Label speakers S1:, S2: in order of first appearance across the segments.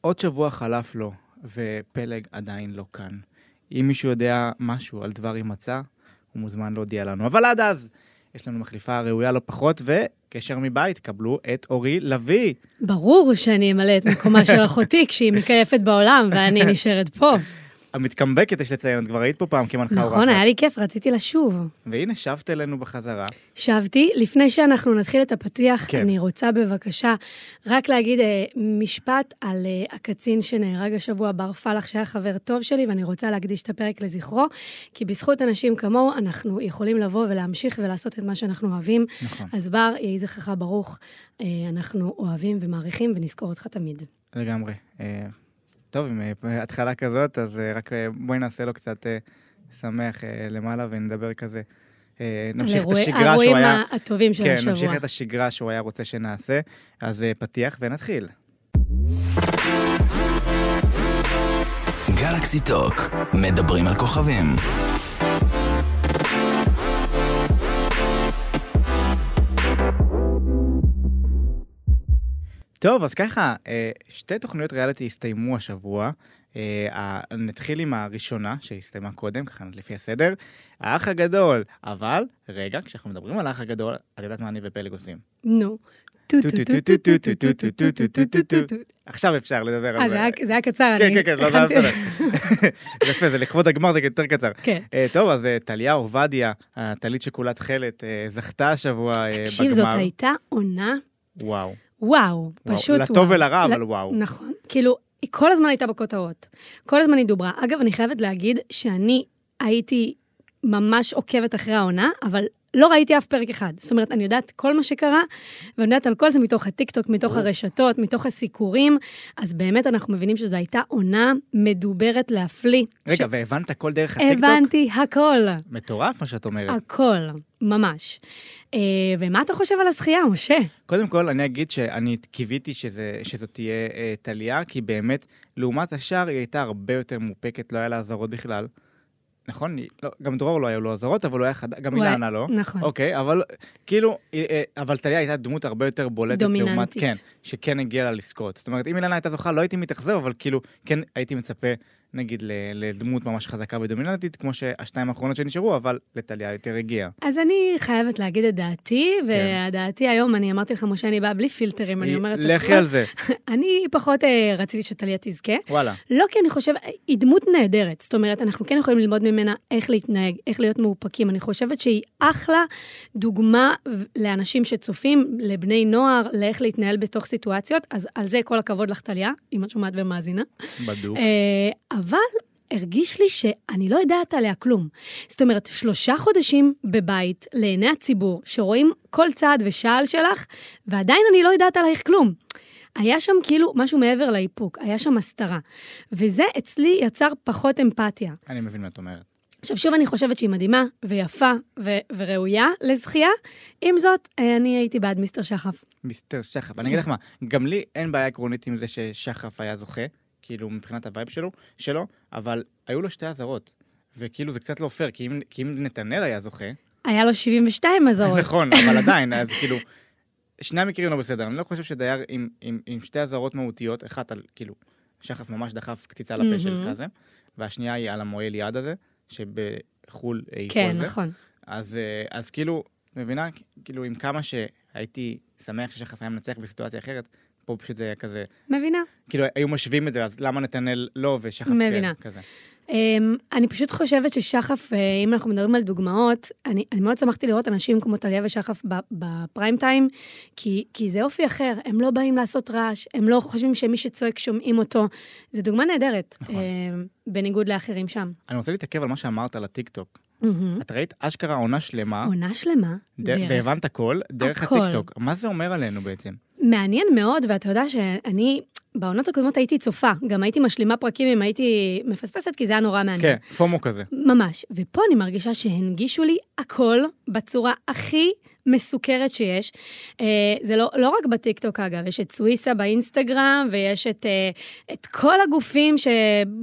S1: עוד שבוע חלף לו, ופלג עדיין לא כאן. אם מישהו יודע משהו על דבר הימצא, הוא מוזמן להודיע לנו. אבל עד אז, יש לנו מחליפה ראויה לא פחות, וקשר מבית, קבלו את אורי לביא.
S2: ברור שאני אמלא את מקומה של אחותי כשהיא מקייפת בעולם ואני נשארת פה.
S1: המתקמבקת, יש לציין, את כבר היית פה פעם כמנחה אורחת.
S2: נכון, היה לי כיף, רציתי לשוב.
S1: והנה, שבת אלינו בחזרה.
S2: שבתי, לפני שאנחנו נתחיל את הפתיח,
S1: כן.
S2: כן. אני רוצה בבקשה רק להגיד אה, משפט על אה, הקצין שנהרג השבוע, בר פלח, שהיה חבר טוב שלי, ואני רוצה להקדיש את הפרק לזכרו, כי בזכות אנשים כמוהו אנחנו יכולים לבוא ולהמשיך ולעשות את מה שאנחנו אוהבים.
S1: נכון.
S2: אז בר, יהי זכרך ברוך, אה, אנחנו אוהבים ומעריכים ונזכור אותך תמיד.
S1: לגמרי. אה, טוב, עם אה, התחלה כזאת, אז אה, רק אה, בואי נעשה לו קצת אה, שמח אה, למעלה ונדבר כזה. אה, נמשיך את
S2: על אירועי-
S1: השגרה שהוא היה...
S2: האירועים הטובים של
S1: כן,
S2: השבוע.
S1: נמשיך את השגרה שהוא היה רוצה שנעשה. אז אה, פתיח ונתחיל.
S3: גלקסי טוק, מדברים על כוכבים.
S1: טוב, אז ככה, אה, שתי תוכניות ריאליטי הסתיימו השבוע. אה, ה- נתחיל עם הראשונה, שהסתיימה קודם, ככה לפי הסדר. האח הגדול, אבל, רגע, כשאנחנו מדברים על האח הגדול, את יודעת מה אני ופלג עושים.
S2: נו.
S1: עכשיו אפשר לדבר על
S2: אה, זה
S1: זה.
S2: היה- זה היה קצר,
S1: כן,
S2: אני
S1: כן, כן, לא, זה היה
S2: הכנתי-
S1: בסדר. יפה, זה לכבוד הגמר, זה יותר קצר.
S2: כן.
S1: אה, טוב, אז אה, טליה עובדיה, הטלית שכולה תכלת, אה, זכתה השבוע אה, בגמר.
S2: תקשיב, זאת הייתה עונה,
S1: וואו.
S2: וואו,
S1: וואו,
S2: פשוט וואו.
S1: לטוב ולרע,
S2: ל-
S1: אבל וואו.
S2: נכון. כאילו, היא כל הזמן הייתה בכותרות. כל הזמן היא דוברה. אגב, אני חייבת להגיד שאני הייתי ממש עוקבת אחרי העונה, אבל... לא ראיתי אף פרק אחד. זאת אומרת, אני יודעת כל מה שקרה, ואני יודעת על כל זה מתוך הטיקטוק, מתוך הרשתות, מתוך הסיקורים, אז באמת אנחנו מבינים שזו הייתה עונה מדוברת להפליא.
S1: רגע, והבנת הכל דרך הטיקטוק? כן.
S2: הבנתי הכל.
S1: מטורף מה שאת אומרת.
S2: הכל, ממש. אה, ומה אתה חושב על הזכייה, משה?
S1: קודם כל, אני אגיד שאני קיוויתי שזה- שזאת תהיה אה, טליה, כי באמת, לעומת השאר, היא הייתה הרבה יותר מאופקת, לא היה לה אזהרות בכלל. נכון? היא- לא, גם דרור לא היו לו אזהרות, אבל הוא היה חד... גם
S2: הוא היה-
S1: אילנה לא.
S2: נכון.
S1: אוקיי, אבל כאילו, אה, אה, אבל טליה הייתה דמות הרבה יותר בולטת.
S2: דומיננטית.
S1: לעומת, כן, שכן הגיעה לה לזכות. זאת אומרת, אם אילנה הייתה זוכה, לא הייתי מתאכזב, אבל כאילו, כן הייתי מצפה, נגיד, ל- לדמות ממש חזקה ודומיננטית, כמו שהשתיים האחרונות שנשארו, אבל לטליה יותר הגיעה.
S2: אז אני חייבת להגיד את דעתי,
S1: כן. אה,
S2: ודעתי היום, אני אמרתי לך, משה, אני באה בלי פילטרים, אני אומרת...
S1: לכי על זה.
S2: אני פחות אה, רציתי שטליה תזכה.
S1: וואלה.
S2: לא כי אני חושבת, היא דמות נהדרת, זאת אומרת, אנחנו כן יכולים ללמוד ממנה איך להתנהג, איך להיות מאופקים. אני חושבת שהיא אחלה דוגמה ו- לאנשים שצופים, לבני נוער, לאיך להתנהל בתוך סיטואציות, אז על זה כל הכבוד לך, טליה, אם את שומעת ומאזינה.
S1: בדוק.
S2: אה, אבל הרגיש לי שאני לא יודעת עליה כלום. זאת אומרת, שלושה חודשים בבית לעיני הציבור, שרואים כל צעד ושעל שלך, ועדיין אני לא יודעת עלייך כלום. היה שם כאילו משהו מעבר לאיפוק, היה שם הסתרה. וזה אצלי יצר פחות אמפתיה.
S1: אני מבין מה את אומרת.
S2: עכשיו, שוב, אני חושבת שהיא מדהימה, ויפה, ו- וראויה לזכייה. עם זאת, אה, אני הייתי בעד מיסטר שחף.
S1: מיסטר שחף. אני אגיד לך מה, גם לי אין בעיה עקרונית עם זה ששחף היה זוכה, כאילו מבחינת הווייב שלו, שלו, אבל היו לו שתי אזהרות. וכאילו זה קצת לא פייר, כי אם, כי אם נתנאל היה זוכה,
S2: היה לו 72 אזהרות.
S1: נכון, אבל עדיין, אז כאילו, שני המקרים לא בסדר. אני לא חושב שדייר עם, עם, עם שתי אזהרות מהותיות, אחת על, כאילו, שחף ממש דחף קציצה לפה של
S2: מהמם.
S1: כזה, והשנייה היא על המועל יד הזה, שבחו"ל אה, ייתנו
S2: כן,
S1: על זה.
S2: נכון.
S1: אז, אה, אז כאילו, מבינה? כאילו, עם כמה שהייתי שמח ששחף היה מנצח בסיטואציה אחרת, פה פשוט זה היה כזה,
S2: מבינה?
S1: כאילו, היו משווים את זה, אז למה נתנאל לא ושחף כן?
S2: מבינה.
S1: כזה.
S2: אמ, אני פשוט חושבת ששחף, אה, אם אנחנו מדברים על דוגמאות, אני, אני מאוד שמחתי לראות אנשים כמו טליה ושחף ב- בפריים טיים, כי, כי זה אופי אחר, הם לא באים לעשות רעש, הם לא חושבים שמי שצועק שומעים אותו. זו דוגמה נהדרת,
S1: נכון.
S2: אמ, בניגוד לאחרים שם.
S1: אני רוצה להתעכב על מה שאמרת על הטיקטוק. את ראית אשכרה עונה שלמה,
S2: עונה שלמה,
S1: ד-
S2: דרך.
S1: והבנת הכל, דרך
S2: הכל.
S1: הטיקטוק. מה זה אומר עלינו בעצם?
S2: מעניין מאוד, ואתה יודע שאני, בעונות הקודמות הייתי צופה, גם הייתי משלימה פרקים אם הייתי מפספסת, כי זה היה נורא מעניין.
S1: כן, פומו כזה.
S2: ממש. ופה אני מרגישה שהנגישו לי הכל בצורה הכי מסוכרת שיש. אה, זה לא, לא רק בטיקטוק, אגב, יש את סוויסה באינסטגרם, ויש את, אה, את כל הגופים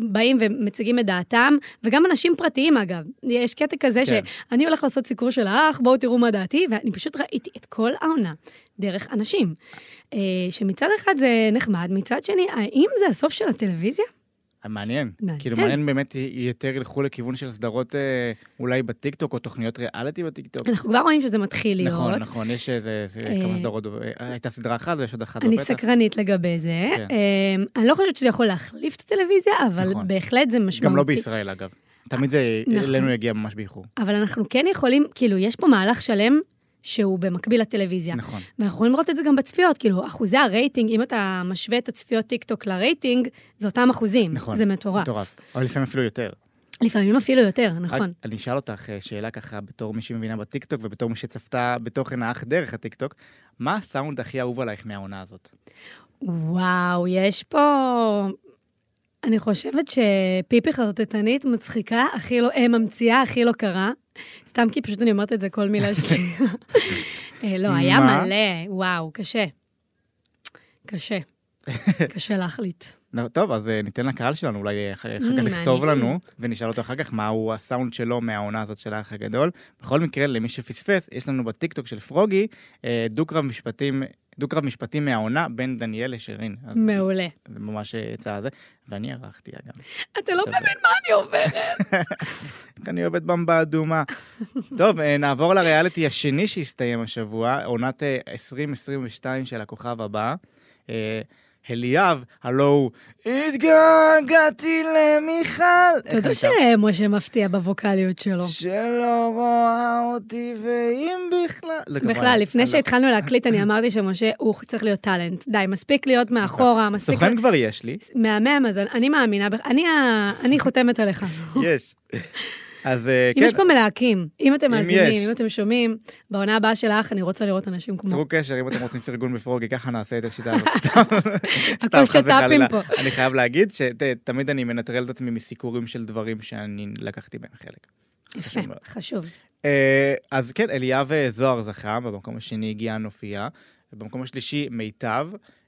S2: שבאים ומציגים את דעתם, וגם אנשים פרטיים, אגב. יש קטע כזה
S1: כן.
S2: שאני הולך לעשות סיקור של האח, בואו תראו מה דעתי, ואני פשוט ראיתי את כל העונה. דרך אנשים. אה, שמצד אחד זה נחמד, מצד שני, האם זה הסוף של הטלוויזיה?
S1: מעניין.
S2: מעניין.
S1: כאילו מעניין באמת יותר ילכו לכיוון של סדרות אה, אולי בטיקטוק או תוכניות ריאליטי בטיקטוק.
S2: אנחנו כבר רואים שזה מתחיל להיות.
S1: נכון, נכון, יש איזה זה-
S2: אה,
S1: כמה סדרות, אה, הייתה סדרה אחת ויש עוד אחת
S2: אני
S1: בפתח.
S2: סקרנית לגבי זה.
S1: כן.
S2: אה, אני לא חושבת שזה יכול להחליף את הטלוויזיה, אבל
S1: נכון.
S2: בהחלט זה משמעותי.
S1: גם לא בישראל אגב. תמיד זה
S2: נכון.
S1: אלינו יגיע ממש באיחור.
S2: אבל אנחנו כן יכולים, כאילו, יש פה מהלך שלם שהוא במקביל לטלוויזיה.
S1: נכון.
S2: ואנחנו יכולים לראות את זה גם בצפיות, כאילו, אחוזי הרייטינג, אם אתה משווה את הצפיות טיקטוק לרייטינג, זה אותם אחוזים.
S1: נכון.
S2: זה מטורף.
S1: מטורף. אבל לפעמים אפילו יותר.
S2: לפעמים אפילו יותר, נכון.
S1: רק אני אשאל אותך אה, שאלה ככה, בתור מי שמבינה בטיקטוק ובתור מי שצפתה בתוכן האח דרך הטיקטוק, מה הסאונד הכי אהוב עלייך מהעונה הזאת?
S2: וואו, יש פה... אני חושבת שפיפי חרטטנית מצחיקה, הכי לא... אה, ממציאה, הכי לא קרה. סתם כי פשוט אני אומרת את זה כל מילה שלי. אה, לא, היה
S1: מה?
S2: מלא, וואו, קשה. קשה. קשה להחליט.
S1: נו, טוב, אז אה, ניתן לקהל שלנו אולי אה, אחר אחר
S2: Mm,
S1: כך לכתוב
S2: מעניין.
S1: לנו, ונשאל אותו אחר כך מהו הסאונד שלו מהעונה הזאת של האח הגדול. בכל מקרה, למי שפספס, יש לנו בטיקטוק של פרוגי אה, דו-קרב משפטים, דו-קרב משפטים מהעונה בין דניאל לשירין. אז
S2: מעולה.
S1: זה ממש אה, יצא זה, ואני ערכתי אגב.
S2: אתה לא
S1: עכשיו-
S2: מבין מה אני עוברת.
S1: אני אוהבת במבה אדומה. טוב, אה, נעבור לריאליטי השני שהסתיים השבוע, עונת אה, 2022 של הכוכב הבא. אה, אליאב, הלו הוא, התגעגעתי למיכל.
S2: אתה
S1: איך
S2: יודע
S1: אני שר?
S2: שמשה מפתיע בווקאליות שלו.
S1: שלא רואה אותי, ואם בכלל... לא, כמובן,
S2: בכלל, לפני
S1: לא.
S2: שהתחלנו להקליט, אני אמרתי שמשה, הוא צריך להיות טאלנט. די, מספיק להיות
S1: נכון.
S2: מאחורה, מספיק...
S1: אה, סוכן כבר יש לי,
S2: מהמם, אז אני מאמינה בך, אני, ה- אני חותמת עליך.
S1: יש. אז אה,
S2: אם יש פה
S1: כן,
S2: מלהקים, אם אתם
S1: אם
S2: מאזינים,
S1: יש.
S2: אם אתם שומעים, בעונה הבאה של האח אני רוצה לראות אנשים כמו...
S1: צרו קשר אם אתם רוצים פרגון בפרוגי, ככה נעשה את השיטה הזאת. סתם. סתם,
S2: הכל
S1: חס
S2: שת"פים
S1: וחלילה.
S2: פה.
S1: אני חייב להגיד שתמיד אני מנטרל את עצמי מסיקורים של דברים שאני לקחתי בהם חלק.
S2: יפה,
S1: חשוב מאוד.
S2: חשוב.
S1: אה, אז כן, אליאב אה, זוהר זכה, במקום השני הגיעה נופיה, במקום השלישי מיטב,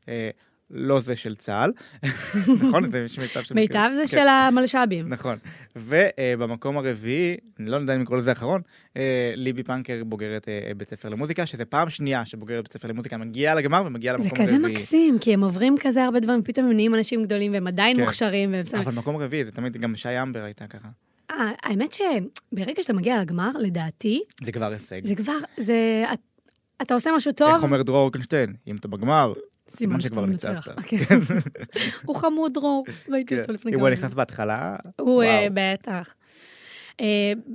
S1: אה, לא זה של צה"ל, נכון? זה יש מיטב של...
S2: מיטב זה
S1: כן,
S2: של המלש"בים.
S1: נכון. ובמקום הרביעי, אני לא יודע אם לקרוא לזה האחרון, אה, ליבי פנקר בוגרת אה, בית ספר למוזיקה, שזה פעם שנייה שבוגרת בית ספר למוזיקה מגיעה לגמר ומגיעה
S2: זה
S1: למקום הרביעי.
S2: כזה מקסים, כי הם עוברים כזה הרבה דברים, פתאום הם נהיים אנשים גדולים והם עדיין
S1: כן.
S2: מוכשרים, והם בסדר.
S1: אבל מקום רביעי, זה תמיד גם שי אמבר הייתה ככה.
S2: אה, האמת שברגע שאתה מגיע לגמר, לדעתי,
S1: זה כבר הישג.
S2: זה כבר, זה... את- אתה עושה משהו
S1: איך
S2: טוב,
S1: אומר דרור אורקנשטיין? אם אתה בגמר,
S2: סימן
S1: שכבר
S2: שאתה מנצח.
S1: ניצחת. כן.
S2: כן. הוא חמוד דרור, ראיתי אותו כן. לפני
S1: אם
S2: כמה
S1: הוא
S2: ימים.
S1: נכנס בהתחלה,
S2: הוא אה,
S1: וואו.
S2: בטח. אה,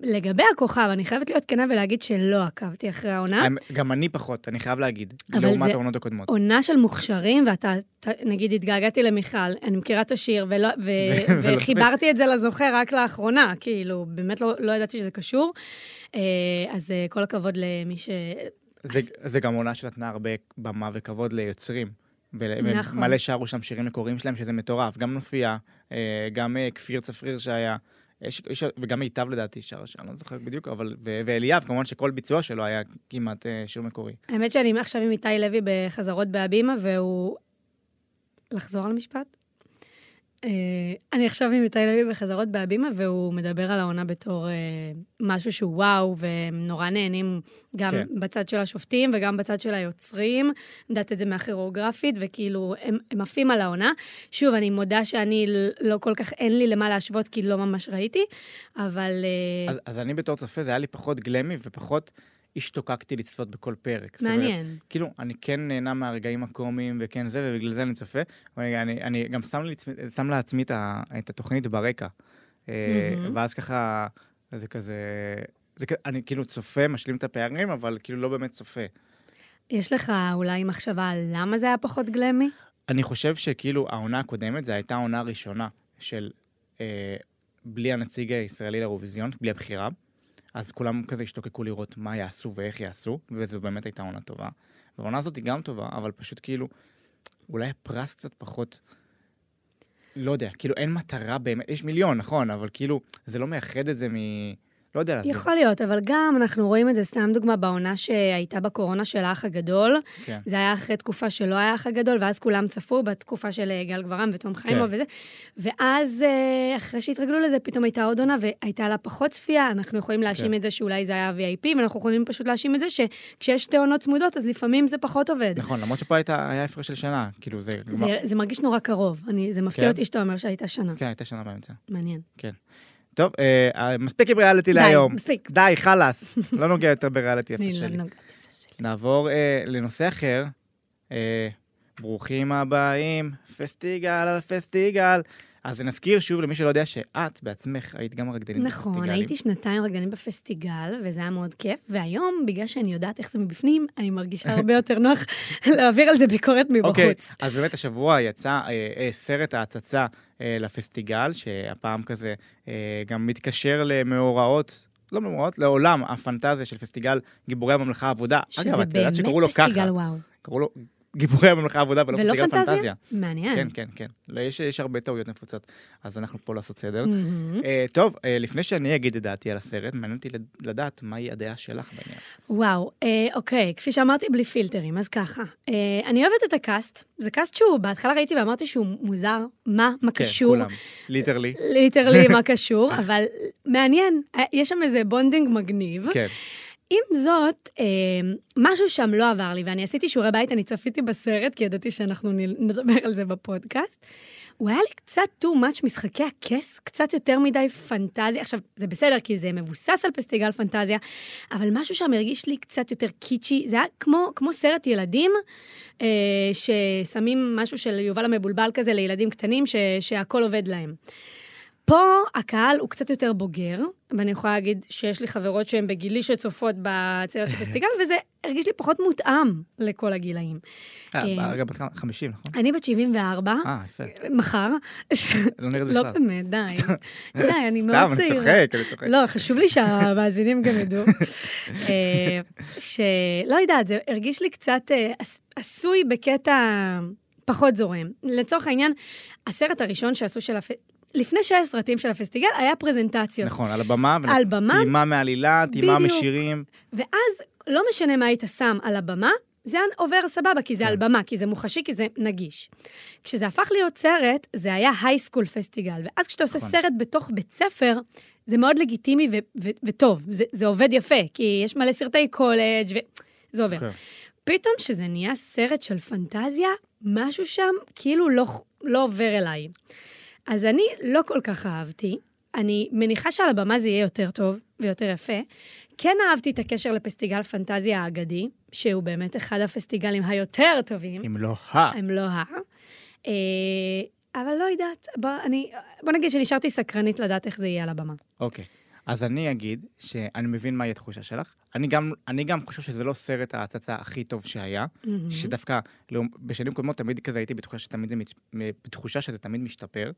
S2: לגבי הכוכב, אני חייבת להיות כנה ולהגיד שלא עקבתי אחרי העונה.
S1: האמת, גם אני פחות, אני חייב להגיד,
S2: אבל
S1: לעומת
S2: זה-
S1: העונות הקודמות.
S2: עונה של מוכשרים, ואתה, ת- נגיד, התגעגעתי למיכל, אני מכירה את השיר, ולא, ו,
S1: ולא
S2: וחיברתי את זה לזוכה רק לאחרונה, כאילו, באמת לא, לא ידעתי שזה קשור. אה, אז אה, כל הכבוד למי ש...
S1: זה-
S2: אוקיי.
S1: זה גם עונה שנתנה הרבה במה וכבוד ליוצרים. ול-
S2: נכון.
S1: מלא שרו שם שירים מקוריים שלהם, שזה מטורף. גם נופיה, אה, גם אה, כפיר צפריר שהיה, יש- יש- וגם מיטב לדעתי שר, שם, אני לא זוכר בדיוק, אבל, ו- ואליאב, כמובן שכל ביצוע שלו היה כמעט אה, שיר מקורי.
S2: האמת שאני עכשיו עם איתי לוי בחזרות בהבימה, והוא... לחזור על משפט? אה, אני עכשיו עם איתי לוי בחזרות בהבימה, והוא מדבר על העונה בתור אה, משהו שהוא וואו, והם נורא נהנים גם
S1: כן.
S2: כן. בצד של השופטים וגם בצד של היוצרים. אני יודעת את זה מהכירוגרפית, וכאילו, הם, הם עפים על העונה. שוב, אני מודה שאני ל- לא כל כך, אין לי למה להשוות, כי לא ממש ראיתי, אבל... אה,
S1: אז, אז אני בתור צופה, זה היה לי פחות גלמי ופחות השתוקקתי לצפות בכל פרק. זאת אומרת,
S2: מעניין.
S1: כאילו, אני כן נהנה מהרגעים הקומיים וכן זה, ובגלל זה אני צופה. אבל אני, אני, אני גם שם, לעצמי, שם לעצמי את, ה, את התוכנית ברקע. אה,
S2: מהמם.
S1: ואז ככה, זה כזה... זה, כ- אני כאילו צופה, משלים את הפערים, אבל כאילו לא באמת צופה.
S2: יש לך אולי מחשבה למה זה היה פחות גלמי?
S1: אני חושב שכאילו העונה הקודמת, זו הייתה העונה הראשונה של אה, בלי הנציג הישראלי לאירוויזיון, בלי הבחירה. אז כולם כזה השתוקקו לראות מה יעשו ואיך יעשו, וזו באמת הייתה עונה טובה. והעונה הזאת היא גם טובה, אבל פשוט כאילו, אולי הפרס קצת פחות, לא יודע, כאילו אין מטרה באמת, יש מיליון, נכון, אבל כאילו, זה לא מייחד את זה מ... לא יודע להסביר.
S2: יכול להיות, אבל גם אנחנו רואים את זה, סתם דוגמה, בעונה שהייתה בקורונה של האח הגדול,
S1: כן.
S2: זה היה אחרי תקופה שלא היה האח הגדול, ואז כולם צפו בתקופה של אה, גל גברם ותום חיימו
S1: כן.
S2: וזה, ואז אה, אחרי שהתרגלו לזה, פתאום הייתה עוד עונה והייתה לה פחות צפייה, אנחנו יכולים להאשים
S1: כן.
S2: את זה שאולי זה היה VIP, ואנחנו יכולים פשוט להאשים את זה שכשיש שתי עונות צמודות, אז לפעמים זה פחות עובד.
S1: נכון, למרות שפה הייתה, היה הפרש של שנה, כאילו זה...
S2: זה, זה מרגיש נורא קרוב, אני, זה מפתיע
S1: כן?
S2: אותי שאתה אומר שהייתה שנה.
S1: כן, הייתה שנה באמצע.
S2: מעניין.
S1: טוב, אה, מספיק עם ריאליטי
S2: די,
S1: להיום.
S2: מספיק.
S1: די, חלאס. לא נוגע יותר בריאליטי איפה
S2: אני לא
S1: שלי.
S2: נוגעת אפס שלי.
S1: נעבור אה, לנושא אחר. אה, ברוכים הבאים, פסטיגל על פסטיגל. אז נזכיר שוב למי שלא יודע שאת בעצמך היית גם רקדנית
S2: נכון,
S1: בפסטיגלים.
S2: הייתי שנתיים רגלנית בפסטיגל, וזה היה מאוד כיף, והיום, בגלל שאני יודעת איך זה מבפנים, אני מרגישה הרבה יותר נוח להעביר על זה ביקורת
S1: אוקיי,
S2: מבחוץ.
S1: אז באמת השבוע יצא אה, אה, סרט ההצצה אה, לפסטיגל, שהפעם כזה אה, גם מתקשר למאורעות, לא מאורעות, לעולם הפנטזיה של פסטיגל גיבורי הממלכה העבודה. אגב,
S2: שזה
S1: את יודעת
S2: באמת
S1: שקראו לו ככה,
S2: פסטיגל וואו.
S1: קראו לו גיבורי הממלכה העבודה ולא
S2: ולא
S1: פסטיגל פנטזיה.
S2: פנטזיה? מעניין.
S1: כן, כן, כן. לא, יש, יש הרבה טעויות נפוצות, אז אנחנו פה לעשות סדר.
S2: מהמם.
S1: אה, טוב, אה, לפני שאני אגיד את דעתי על הסרט, מעניין אותי לד- לדעת מהי הדעה שלך בעניין.
S2: וואו, אה, אוקיי, כפי שאמרתי, בלי פילטרים, אז ככה. אה, אני אוהבת את הקאסט, זה קאסט שהוא, בהתחלה ראיתי ואמרתי שהוא מוזר, מה, מה קשור?
S1: כן, כולם. ליטרלי.
S2: ליטרלי מה קשור, אבל מעניין, אה, יש שם איזה בונדינג מגניב.
S1: כן.
S2: עם זאת, אה, משהו שם לא עבר לי, ואני עשיתי שיעורי בית, אני צפיתי בסרט, כי ידעתי שאנחנו נ- נדבר על זה בפודקאסט. הוא היה לי קצת too much משחקי הכס, קצת יותר מדי פנטזיה. עכשיו, זה בסדר, כי זה מבוסס על פסטיגל פנטזיה, אבל משהו שם הרגיש לי קצת יותר קיצ'י. זה היה כמו, כמו סרט ילדים, אה, ששמים משהו של יובל המבולבל כזה לילדים קטנים, ש, שהכל עובד להם. פה הקהל הוא קצת יותר בוגר, ואני יכולה להגיד שיש לי חברות שהן בגילי שצופות בציירת של פסטיגל, וזה הרגיש לי פחות מותאם לכל הגילאים.
S1: אה, רגע, בת כמה? 50, נכון?
S2: אני בת 74,
S1: אה, יפה.
S2: מחר.
S1: לא נראית
S2: לא
S1: בכלל.
S2: באמת, די. די, אני מאוד
S1: סתם, אני
S2: צעירה.
S1: צוחק, אני צוחק.
S2: לא, חשוב לי שהמאזינים גם ידעו. אה, שלא יודעת, זה הרגיש לי קצת אה, עש- עשוי בקטע פחות זורם. לצורך העניין, הסרט הראשון שעשו של הפ... לפני שהיה סרטים של הפסטיגל, היה פרזנטציות.
S1: נכון, על הבמה. ונ-
S2: על במה?
S1: טעימה מעלילה, טעימה
S2: בדיוק.
S1: משירים.
S2: ואז, לא משנה מה היית שם על הבמה, זה היה עובר סבבה, כי זה על במה, כי זה מוחשי, כי זה נגיש. כשזה הפך להיות סרט, זה היה הייסקול פסטיגל. ואז כשאתה עושה
S1: נכון.
S2: סרט בתוך בית ספר, זה מאוד לגיטימי ו- ו- וטוב. זה, זה עובד יפה, כי יש מלא סרטי קולג' וזה עובר.
S1: כן.
S2: פתאום שזה נהיה סרט של פנטזיה, משהו שם כאילו לא, לא עובר אליי. אז אני לא כל כך אהבתי. אני מניחה שעל הבמה זה יהיה יותר טוב ויותר יפה. כן אהבתי את הקשר לפסטיגל פנטזיה האגדי, שהוא באמת אחד הפסטיגלים היותר טובים.
S1: אם לא ה...
S2: הם לא ה... אה, אבל לא יודעת, בוא, אני, בוא נגיד שנשארתי סקרנית לדעת איך זה יהיה על הבמה.
S1: אוקיי. אז אני אגיד שאני מבין מהי התחושה שלך. אני גם, אני גם חושב שזה לא סרט ההצצה הכי טוב שהיה,
S2: Mm-hmm.
S1: שדווקא לא, בשנים קודמות תמיד כזה הייתי בתחושה, שתמיד זה מת, בתחושה שזה תמיד משתפר.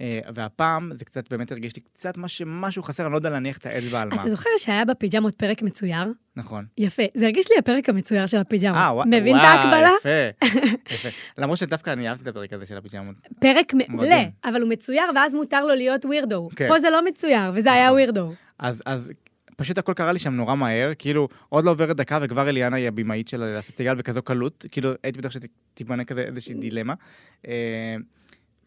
S1: אה, והפעם זה קצת באמת הרגיש לי קצת משהו, משהו חסר, אני לא יודע להניח את האצבע על מה.
S2: Mm-hmm. אה, אתה זוכר שהיה בפיג'מות פרק מצויר?
S1: נכון.
S2: יפה. זה הרגיש לי הפרק המצויר של הפיג'מות.
S1: אה, ווא-
S2: מבין את
S1: וואי,
S2: ההקבלה?
S1: יפה, יפה. למרות שדווקא אני אהבתי את הפרק הזה של הפיג'מות.
S2: פרק מעולה,
S1: מדהים.
S2: אבל הוא מצויר, ואז מותר לו להיות ווירדו.
S1: כן.
S2: פה זה לא מצויר, וזה היה
S1: נכון.
S2: ווירדו.
S1: אז, אז פשוט הכל קרה לי שם נורא מהר, כאילו, עוד לא עוברת דקה וכבר אליאנה היא הבמאית של הפסטיגל בכזו קלות, כאילו, הייתי בטוח שתיבנה כזה איזושהי דילמה. אה,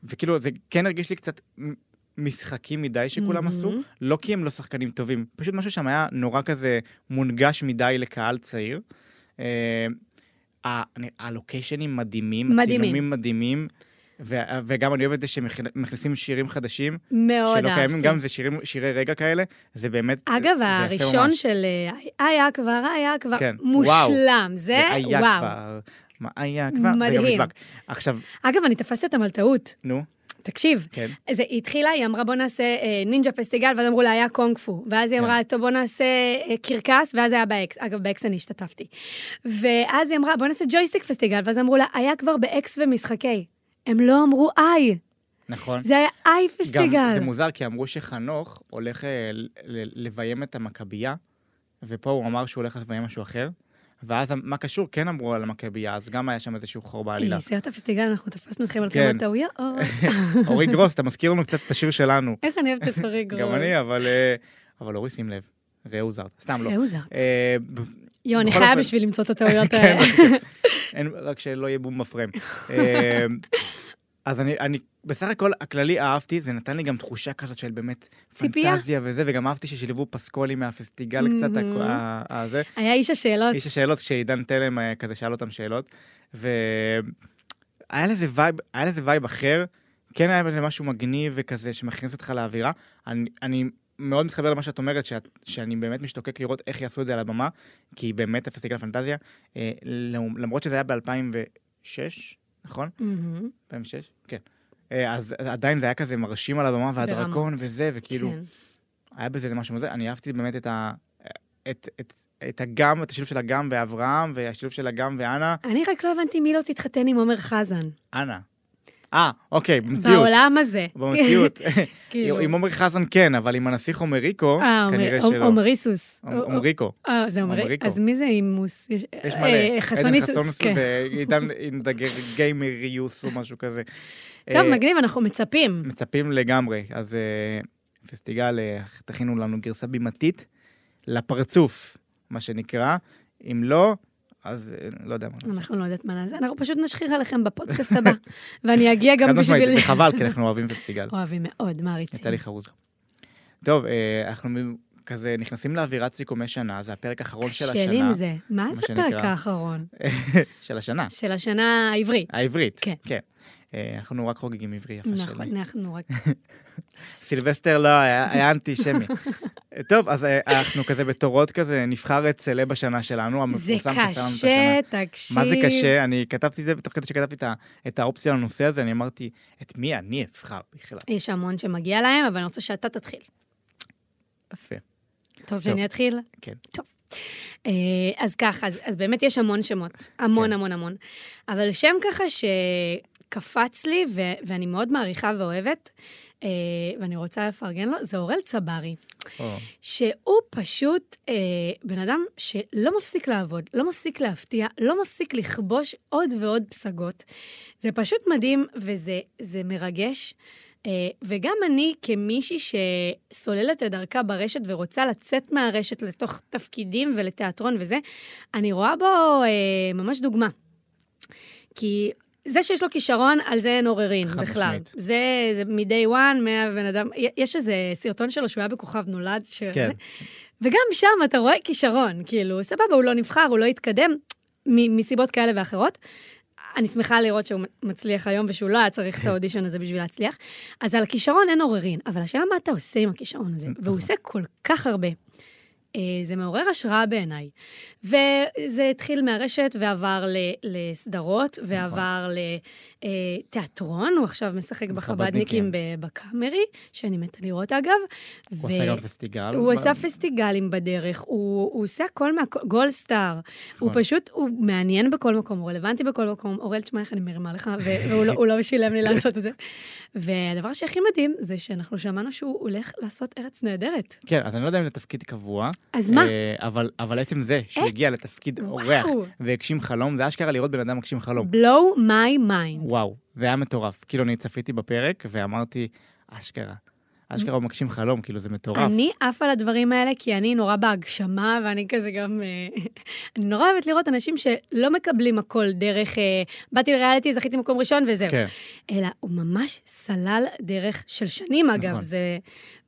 S1: וכאילו, זה כן הרגיש לי קצת מ- משחקי מדי שכולם
S2: מהמם.
S1: עשו, לא כי הם לא שחקנים טובים, פשוט משהו שם היה נורא כזה מונגש מדי לקהל צעיר. אה, ה- אני- הלוקיישנים מדהימים,
S2: מדהימים.
S1: הצילומים מדהימים, ו- וגם אני אוהב את זה שמכניסים שירים חדשים.
S2: מאוד אהבתי.
S1: שלא קיימים, גם אם זה שירים, שירי רגע כאלה, זה באמת...
S2: אגב,
S1: זה יפה
S2: הראשון
S1: ממש.
S2: של אה, היה כבר, היה כבר,
S1: כן,
S2: מושלם. זה,
S1: היה
S2: וואו.
S1: כבר, מה היה כבר, זה גם
S2: מדהים.
S1: נדבק. עכשיו,
S2: אגב, אני תפסתי אותם על טעות.
S1: נו,
S2: תקשיב,
S1: כן.
S2: זה, היא התחילה, היא אמרה בוא נעשה אה, נינג'ה פסטיגל, ואז אמרו לה היה קונג פו. ואז היא
S1: כן.
S2: אמרה, טוב בוא נעשה אה, קרקס, ואז היה באקס. אגב, באקס אני השתתפתי. ואז היא אמרה, בוא נעשה ג'ויסטיק פסטיגל, ואז אמרו לה, היה כבר באקס ומשחקי. הם לא אמרו איי,
S1: נכון.
S2: זה היה איי
S1: גם
S2: פסטיגל.
S1: זה מוזר, כי אמרו שחנוך הולך אה, ל- ל- לביים את המכבייה, ופה הוא אמר שהוא הולך לביים משהו אחר, ואז מה קשור? כן אמרו על המכבייה, אז גם היה שם איזשהו חור בעלילה.
S2: אה, סיירת הפסטיגל, אנחנו תפסנו אתכם על
S1: כן.
S2: כמה טעויות.
S1: אורי גרוס, אתה מזכיר לנו קצת את השיר שלנו.
S2: איך אני אוהבת את אורי גרוב.
S1: גם אני, אבל... אה, אבל אורי, שים לב, ראו זרד. סתם לא.
S2: ראו זה.
S1: אה, ב-
S2: יואו, אני
S1: בכל
S2: חיה
S1: אופן-
S2: בשביל למצוא את הטעויות
S1: כן,
S2: האלה.
S1: אין, רק שלא יהיה בום בפריים. אה, אז אני, אני בסך הכל הכללי אהבתי, זה נתן לי גם תחושה כזאת של באמת
S2: ציפייה.
S1: פנטזיה וזה, וגם אהבתי ששילבו פסקולים מהפסטיגל קצת,
S2: מהמם.
S1: הכ- ה- ה- זה.
S2: היה איש השאלות.
S1: איש השאלות, כשעידן תלם אה, כזה שאל אותם שאלות, והיה לזה וייב, היה לזה וייב אחר, כן היה בזה משהו מגניב וכזה שמכניס אותך לאווירה. אני, אני מאוד מתחבר למה שאת אומרת, שאת, שאני באמת משתוקק לראות איך יעשו את זה על הבמה, כי באמת הפסטיגל פנטזיה, אה, למ- למרות שזה היה ב-2006, נכון?
S2: מהמם.
S1: 2006? כן. אה, אז אז עדיין זה היה כזה מרשים על הבמה, והדרקון
S2: ברמות.
S1: וזה, וכאילו,
S2: כן.
S1: היה בזה איזה משהו מזה, אני אהבתי באמת את ה... את, את, את הגם, את השילוב של הגם ואברהם, והשילוב של הגם ואנה.
S2: אני רק לא הבנתי מי לא תתחתן עם עומר חזן.
S1: אנה. אה, אוקיי, במציאות.
S2: בעולם הזה.
S1: במציאות.
S2: כאילו.
S1: עם עומר חזן כן, אבל עם הנסיך עומריקו,
S2: אה, עומר-
S1: כנראה
S2: עומ-
S1: שלא.
S2: עומריסוס.
S1: עומ- עומריקו.
S2: אה, זה עומרי.
S1: עומריקו.
S2: אז מי זה עם מוס?
S1: יש מלא.
S2: אה,
S1: עדן
S2: חסוניסוס, כן.
S1: ועידן דגר גיימריוס או משהו כזה.
S2: טוב,
S1: אה,
S2: מגניב, אנחנו מצפים.
S1: מצפים לגמרי. אז אה, פסטיגל, אה, תכינו לנו גרסה בימתית לפרצוף, מה שנקרא. אם לא, אז אה, לא יודע מה נעשה.
S2: אנחנו לא יודעת מה נעשה, אנחנו פשוט נשחיר עליכם בפודקאסט הבא. ואני אגיע גם
S1: חד משמעית,
S2: בשביל...
S1: זה חבל, כי אנחנו אוהבים פסטיגל.
S2: אוהבים מאוד,
S1: יצא
S2: מעריצים.
S1: לי חרוץ. טוב, אה, אנחנו מ- כזה נכנסים לאווירת סיכומי שנה, זה הפרק האחרון של
S2: קשה לי
S1: השנה.
S2: עם זה. מה
S1: מה
S2: זה
S1: שנקרא. אה.
S2: הפרק האחרון?
S1: של השנה,
S2: של השנה העברית.
S1: העברית.
S2: כן.
S1: כן. אה, אנחנו רק חוגגים עברי יפה
S2: נכון,
S1: שלי.
S2: אנחנו רק...
S1: סילבסטר לא, היה היה אנטישמי. אה, טוב, אז אה, אנחנו כזה בתורות כזה, נבחר את סלב השנה שלנו,
S2: זה
S1: המפורסם שסלם את השנה.
S2: קשה, תקשיב.
S1: מה זה קשה? אני כתבתי את זה, תוך כדי שכתבתי את ה- את האופציה לנושא הזה, אני אמרתי, את מי אני אבחר בכלל?
S2: יש המון שמגיע להם, אבל אני רוצה שאתה תתחיל.
S1: יפה.
S2: אתה רוצה שאני אתחיל?
S1: כן.
S2: טוב. אה, אז ככה, אז, אז באמת יש המון שמות. המון,
S1: כן.
S2: המון, המון. אבל שם ככה שקפץ לי, ו- ואני מאוד מעריכה ואוהבת, אה, ואני רוצה לפרגן לו, זה אורל צברי.
S1: או,
S2: שהוא פשוט אה, בן אדם שלא מפסיק לעבוד, לא מפסיק להפתיע, לא מפסיק לכבוש עוד ועוד פסגות. זה פשוט מדהים וזה זה מרגש. אה, וגם אני, כמישהי שסוללת את דרכה ברשת ורוצה לצאת מהרשת לתוך תפקידים ולתיאטרון וזה, אני רואה בו אה, ממש דוגמה. כי זה שיש לו כישרון, על זה אין עוררין
S1: חד
S2: בכלל.
S1: משמעית.
S2: זה, זה מ-day one, מהבן אדם, יש איזה סרטון שלו שהוא היה בכוכב נולד, ש...
S1: כן.
S2: וגם שם אתה רואה כישרון, כאילו, סבבה, הוא לא נבחר, הוא לא התקדם, מ- מסיבות כאלה ואחרות. אני שמחה לראות שהוא מצליח היום ושהוא לא היה צריך את האודישן הזה בשביל להצליח. אז על הכישרון אין עוררין, אבל השאלה מה אתה עושה עם הכישרון הזה, והוא עושה כל כך הרבה. אה, זה מעורר השראה בעיניי. וזה התחיל מהרשת ועבר ל- לסדרות,
S1: נכון.
S2: ועבר לתיאטרון, הוא עכשיו משחק בחבדניקים
S1: בחבדניקים.
S2: ב- בקאמרי, שאני מתה לראות אגב. ו-
S1: הוא עשה גם פסטיגל.
S2: הוא עשה
S1: ב-
S2: פסטיגלים בדרך, הוא, הוא עושה הכל מה... גולד סטאר. הוא
S1: נכון.
S2: פשוט, הוא מעניין בכל מקום, הוא רלוונטי בכל מקום. אוראל, תשמע איך אני מרימה לך, ו- והוא לא, הוא לא שילם לי לעשות את זה. והדבר שהכי מדהים זה שאנחנו שמענו שהוא הולך לעשות ארץ נהדרת.
S1: כן, אז אני לא יודע אם זה תפקיד קבוע.
S2: אז מה?
S1: אה, אבל, אבל עצם זה שהוא הגיע לתפקיד
S2: וואו.
S1: אורח והגשים חלום, זה אשכרה לראות בן אדם מגשים חלום.
S2: blow my mind.
S1: וואו, זה היה מטורף. כאילו, אני צפיתי בפרק ואמרתי, אשכרה. אשכרה הוא מגשים חלום, כאילו, זה מטורף.
S2: אני עפה על הדברים האלה, כי אני נורא בהגשמה, ואני כזה גם... אה, אני נורא אוהבת לראות אנשים שלא מקבלים הכל דרך... אה, באתי לריאליטי, זכיתי מקום ראשון וזהו.
S1: כן.
S2: אלא הוא ממש סלל דרך של שנים, אגב.
S1: נכון.
S2: זה...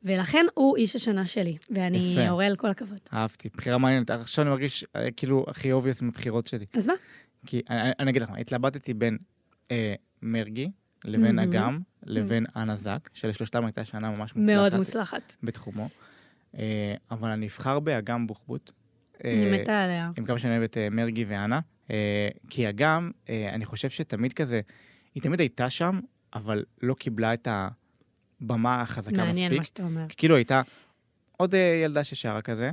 S2: ולכן הוא איש השנה שלי, ואני
S1: יפה.
S2: אורל כל הכבוד.
S1: אהבתי, בחירה מעניינת. עכשיו אני מרגיש אה, כאילו הכי אובייס מבחירות שלי.
S2: אז מה?
S1: כי אני- אני- אני אגיד לך, מה, התלבטתי בין אה, מרגי לבין
S2: מהמם.
S1: אגם לבין אנה זק, שלשלושתם הייתה שנה ממש מוצלחת.
S2: מאוד מוצלחת.
S1: בתחומו. אה, אבל אני אבחר באגם בוחבוט. אה,
S2: אני מתה עליה.
S1: עם כמה שאני אוהב את אה, מרגי ואנה, אה, כי אגם, אה, אני חושב שתמיד כזה, היא תמיד הייתה שם, אבל לא קיבלה את הבמה החזקה
S2: מעניין
S1: מספיק.
S2: מה שאתה אומר.
S1: כאילו הייתה עוד אה, ילדה ששרה כזה,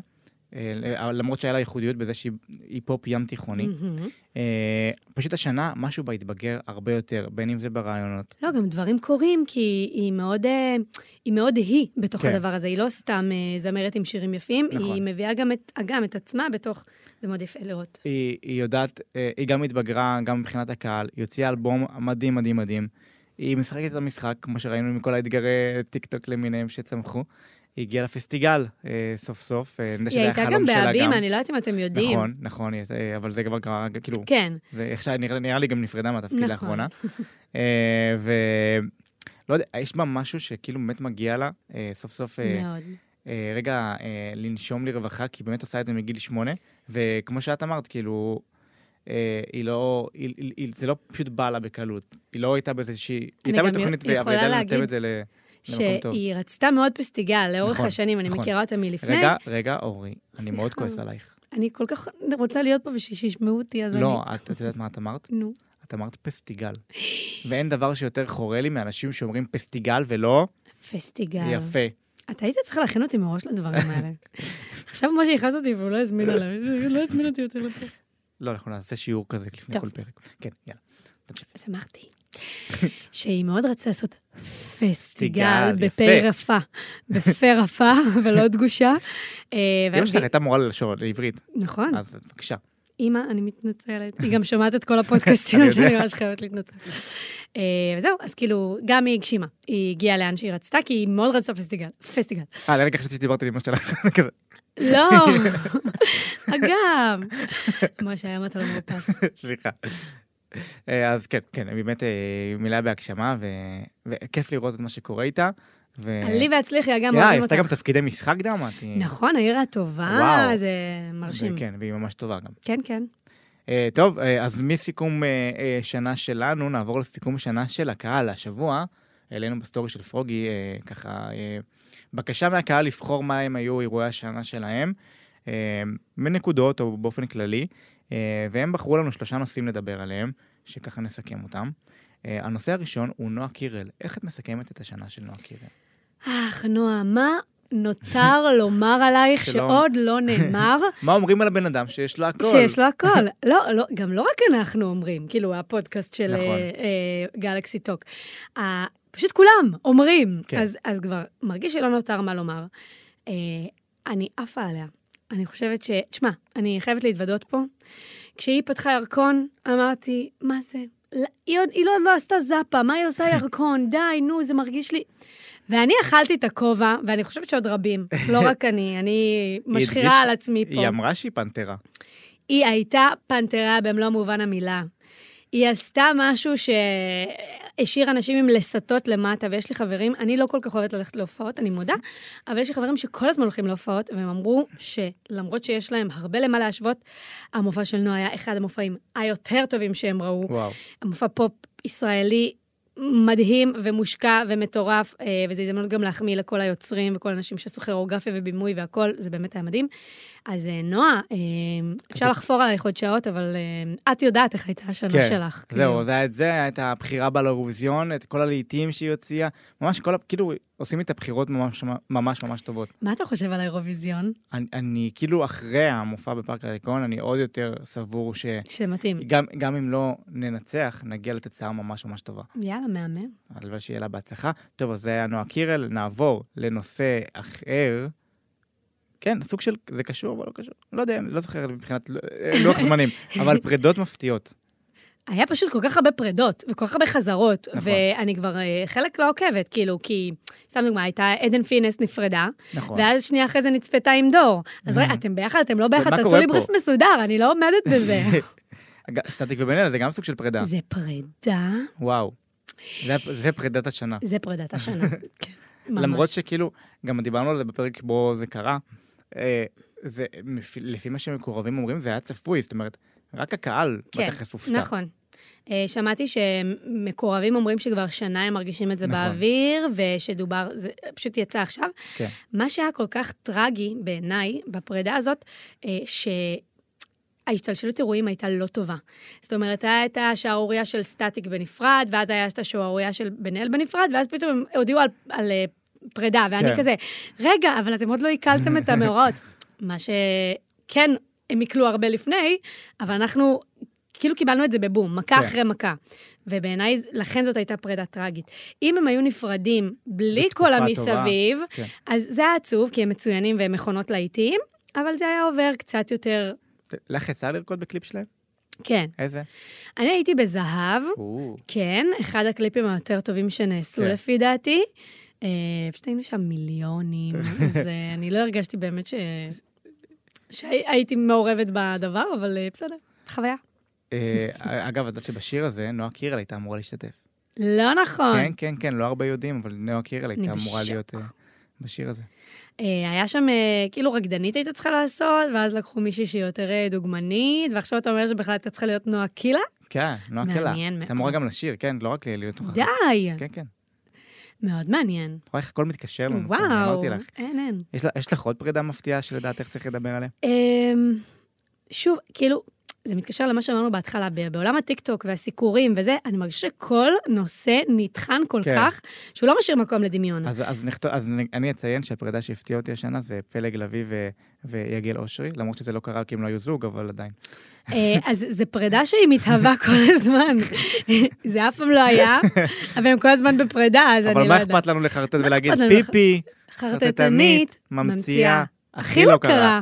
S1: אה, למרות שהיה לה ייחודיות בזה שהיא היא פופ ים תיכוני.
S2: מהמם.
S1: אה, פשוט השנה משהו בה התבגר הרבה יותר, בין אם זה ברעיונות.
S2: לא, גם דברים קורים, כי היא מאוד, אה, היא מאוד היא בתוך
S1: כן.
S2: הדבר הזה. היא לא סתם אה, זמרת עם שירים יפים,
S1: נכון.
S2: היא מביאה גם את, גם את עצמה בתוך... זה מאוד יפה לראות.
S1: היא, היא יודעת, אה, היא גם התבגרה, גם מבחינת הקהל, היא הוציאה אלבום מדהים מדהים מדהים. היא משחקת את המשחק, כמו שראינו מכל האתגרי טיק טוק למיניהם שצמחו. אה, היא הגיעה לפסטיגל אה, סוף סוף, אה, אני יודע
S2: היא
S1: שזה היה
S2: הייתה
S1: חלום
S2: גם
S1: שלה גם.
S2: בהבימה, אני לא יודעת אם אתם יודעים.
S1: נכון, נכון, היא הייתה- אה, אבל זה כבר קרה, כאילו,
S2: כן,
S1: זה איך שנראה נראה לי גם נפרדה מהתפקיד
S2: נכון.
S1: לאחרונה. אה, ולא יודע, יש בה משהו שכאילו באמת מגיע לה אה, סוף סוף אה,
S2: מאוד.
S1: אה, רגע אה, לנשום לרווחה, כי היא באמת עושה את זה מגיל שמונה, וכמו שאת אמרת, כאילו, אה, היא לא, היא, היא, היא, זה לא פשוט בא לה בקלות. היא לא הייתה באיזושהי, היא
S2: אני
S1: הייתה
S2: גם
S1: בתוכנית,
S2: יכולה
S1: אבל היא ידעה
S2: להגיד
S1: לנתב את זה ל... למקום טוב.
S2: שהיא רצתה מאוד פסטיגל לאורך
S1: נכון,
S2: השנים, אני
S1: נכון.
S2: מכירה אותה מלפני.
S1: רגע, רגע, אורי, אני
S2: סליחה.
S1: מאוד כועס עלייך.
S2: אני כל כך רוצה להיות פה ושישמעו אותי, אז אני...
S1: לא, את, את יודעת מה את אמרת?
S2: נו.
S1: את אמרת פסטיגל. ואין דבר שיותר חורה לי מאנשים שאומרים פסטיגל ולא
S2: פסטיגל.
S1: יפה.
S2: אתה היית צריך להכין אותי מראש לדברים האלה. עכשיו משה יכעס אותי והוא לא הזמין עליי, הוא לא הזמין אותי יותר לפה.
S1: לא, אנחנו נעשה שיעור כזה לפני
S2: טוב.
S1: כל פרק. כן, יאללה. תמשיכי.
S2: שמחתי. שהיא מאוד רצתה לעשות פסטיגל
S1: יפה.
S2: בפה רפה, בפה רפה ולא דגושה. אה,
S1: אמא
S2: והיא-
S1: שלך הייתה מורה ללשון, לעברית,
S2: נכון,
S1: אז בבקשה.
S2: אימא, אני מתנצלת. היא גם שומעת את כל הפודקאסטים,
S1: אני
S2: אז אני
S1: יודע.
S2: ממש חייבת להתנצל. אה, וזהו, אז כאילו, גם היא הגשימה. היא הגיעה לאן שהיא רצתה, כי היא מאוד רצתה פסטיגל. פסטיגל.
S1: אה, לרגע חשבתי שדיברתי עם אמא שלך, כזה.
S2: לא, אגב. משה, היום אתה לא מאופס.
S1: סליחה. אה, אז כן, כן, באמת אה, מילה בהגשמה, ו- וכיף לראות את מה שקורה איתה. ו-
S2: עלי והצליחי, אגב,
S1: יאה, היא
S2: אוהבים
S1: עשתה גם
S2: אותך.
S1: תפקידי משחק גם, אמרתי.
S2: נכון, העיר הטובה,
S1: וואו.
S2: זה מרשים.
S1: כן, והיא ממש טובה גם.
S2: כן, כן.
S1: אה, טוב, אה, אז מסיכום אה, אה, שנה שלנו, נעבור לסיכום שנה של הקהל. השבוע העלינו בסטורי של פרוגי, אה, ככה, אה, בקשה מהקהל לבחור מה הם היו אירועי השנה שלהם, אה, מנקודות או באופן כללי, אה, והם בחרו לנו שלושה נושאים לדבר עליהם, שככה נסכם אותם. אה, הנושא הראשון הוא נועה קירל. איך את מסכמת את השנה של נועה קירל?
S2: אך, נועה, מה נותר לומר עלייך
S1: שלא-
S2: שעוד לא נאמר?
S1: מה אומרים על הבן אדם שיש לו הכל?
S2: שיש לו הכל. לא, לא, גם לא רק אנחנו אומרים, כאילו, הפודקאסט של
S1: נכון.
S2: אה, אה, גלקסי טוק. אה, פשוט כולם אומרים.
S1: כן.
S2: אז אז כבר מרגיש שלא נותר מה לומר. אה, אני עפה עליה. אני חושבת ש... תשמע, אני חייבת להתוודות פה. כשהיא פתחה ירקון, אמרתי, מה זה? לא- היא עוד היא לא, לא עשתה זאפה, מה היא עושה ירקון? די, נו, זה מרגיש לי... ואני אכלתי את הכובע, ואני חושבת שעוד רבים, לא רק אני, אני
S1: היא
S2: משחירה
S1: הדגישה-
S2: על עצמי פה.
S1: היא אמרה שהיא פנתרה.
S2: היא הייתה פנתרה במלוא מובן המילה. היא עשתה משהו שהשאיר אנשים עם לסטות למטה, ויש לי חברים, אני לא כל כך אוהבת ללכת להופעות, אני מודה, אבל יש לי חברים שכל הזמן הולכים להופעות, והם אמרו שלמרות שיש להם הרבה למה להשוות, המופע של נועה היה אחד המופעים היותר טובים שהם ראו.
S1: וואו.
S2: המופע פופ ישראלי מדהים ומושקע ומטורף, אה, וזו הזדמנות גם להחמיא לכל היוצרים וכל האנשים שעשו כירוגרפיה ובימוי והכול, זה באמת היה מדהים. אז אה, נועה, אה, אפשר לחפור עלייך עוד שעות, אבל אה, את יודעת איך הייתה השנה
S1: כן,
S2: שלך. כאילו.
S1: זהו, זה היה את זה, היה את הבחירה בה לאירוויזיון, את כל הלהיטים שהיא הוציאה, ממש כל, ה- כאילו, עושים את הבחירות ממש ממש ממש טובות.
S2: מה אתה חושב על האירוויזיון?
S1: אני, אני כאילו, אחרי המופע בפארק הריקון, אני עוד יותר סבור שגם
S2: שמתאים.
S1: גם אם לא ננצח, נגיע לתוצאה ממש ממש טובה.
S2: יאללה, מהמם.
S1: הלוואי שיהיה לה בהצלחה. טוב, אז זה היה נועה קירל, נעבור לנושא אחר. כן, סוג של, זה קשור, אבל לא קשור. לא יודע, לא זוכר מבחינת אה, לוח זמנים, אבל פרדות מפתיעות.
S2: היה פשוט כל כך הרבה פרדות, וכל כך הרבה חזרות,
S1: נכון.
S2: ואני כבר אה, חלק לא עוקבת, כאילו, כי, סתם דוגמה, הייתה עדן פינס נפרדה,
S1: נכון. Mm.
S2: ואז שנייה אחרי זה נצפתה עם דור. אז רגע, אתם ביחד, אתם לא ביחד,
S1: ומה
S2: תעשו
S1: קורה
S2: לי
S1: פה?
S2: בריף מסודר, אני לא עומדת בזה.
S1: אג- סטטיק ובן אלה זה גם סוג של פרידה.
S2: זה פרידה,
S1: וואו. זה, זה פרידת השנה.
S2: זה פרידת השנה. כן, ממש.
S1: למרות שכאילו, גם דיברנו על זה בפרק בו זה קרה, אה, זה, מפי- לפי מה שמקורבים אומרים, זה היה צפוי, זאת אומרת, רק הקהל
S2: כן,
S1: בטח הופתע.
S2: נכון. אה, שמעתי שמקורבים אומרים שכבר שנה הם מרגישים את זה
S1: נכון.
S2: באוויר, ושדובר, זה פשוט יצא עכשיו.
S1: כן.
S2: מה שהיה כל כך טרגי בעיניי בפרידה הזאת, אה, ש... ההשתלשלות אירועים הייתה לא טובה. זאת אומרת, היה את השערורייה של סטטיק בנפרד, ואז היה את השערורייה של בן אל בנפרד, ואז פתאום הם הודיעו על, על אה, פרידה, ואני
S1: כן.
S2: כזה, רגע, אבל אתם עוד לא עיכלתם את המאורעות. מה שכן, הם עיכלו הרבה לפני, אבל אנחנו כאילו קיבלנו את זה בבום, מכה
S1: כן.
S2: אחרי מכה. ובעיניי, לכן זאת הייתה פרידה טרגית. אם הם היו נפרדים בלי
S1: בתקופה
S2: כל
S1: טובה.
S2: המסביב,
S1: כן.
S2: אז זה היה עצוב, כי הם מצוינים והם מכונות להיטים, אבל זה היה עובר קצת יותר...
S1: לך יצא לרקוד בקליפ שלהם?
S2: כן.
S1: איזה?
S2: אני הייתי בזהב,
S1: או,
S2: כן, אחד הקליפים היותר טובים שנעשו
S1: כן.
S2: לפי דעתי. אה, פשוט היינו שם מיליונים, אז אה, אני לא הרגשתי באמת ש... שהייתי מעורבת בדבר, אבל אה, בסדר, חוויה.
S1: אה, אגב, את יודעת שבשיר הזה נועה קירל הייתה אמורה להשתתף.
S2: לא נכון.
S1: כן, כן, כן, לא הרבה יודעים, אבל נועה קירל הייתה אמורה
S2: בשוק.
S1: להיות אה, בשיר הזה.
S2: אה, היה שם, אה, כאילו רקדנית הייתה צריכה לעשות, ואז לקחו מישהי שהיא יותר אה, דוגמנית, ועכשיו אתה אומר שבכלל הייתה צריכה להיות נועה קילה?
S1: כן, נועה קירל.
S2: מעניין
S1: הייתה
S2: מאוד.
S1: אמורה גם לשיר, כן, לא רק להיות נוכחת.
S2: די!
S1: כן, כן.
S2: מאוד מעניין.
S1: את רואה איך הכל מתקשר לנו.
S2: וואו,
S1: כן, אמרתי לך.
S2: אין, אין.
S1: יש לה- יש לך עוד פרידה מפתיעה שלדעתך צריך לדבר עליה?
S2: אמ, שוב, כאילו, זה מתקשר למה שאמרנו בהתחלה, ב- בעולם הטיקטוק והסיקורים וזה, אני מרגישה שכל נושא נטחן כל
S1: כן.
S2: כך, שהוא לא משאיר מקום לדמיון.
S1: אז, אז, נכתוב, אז אני- אני אציין שהפרידה שהפתיעה אותי השנה זה פלג לביא ו, ויגל אושרי, למרות שזה לא קרה כי הם לא היו זוג, אבל עדיין.
S2: אה, אז זו פרידה שהיא מתהווה כל הזמן. זה אף פעם לא היה, אבל הם כל הזמן בפרידה, אז אני לא
S1: אבל
S2: יודעת.
S1: מה אכפת לנו לחרטט
S2: מה
S1: ולהגיד
S2: אכפת לנו לח-
S1: פיפי,
S2: חרטטנית,
S1: ממציאה,
S2: ממציאה.
S1: הכי לא קרה.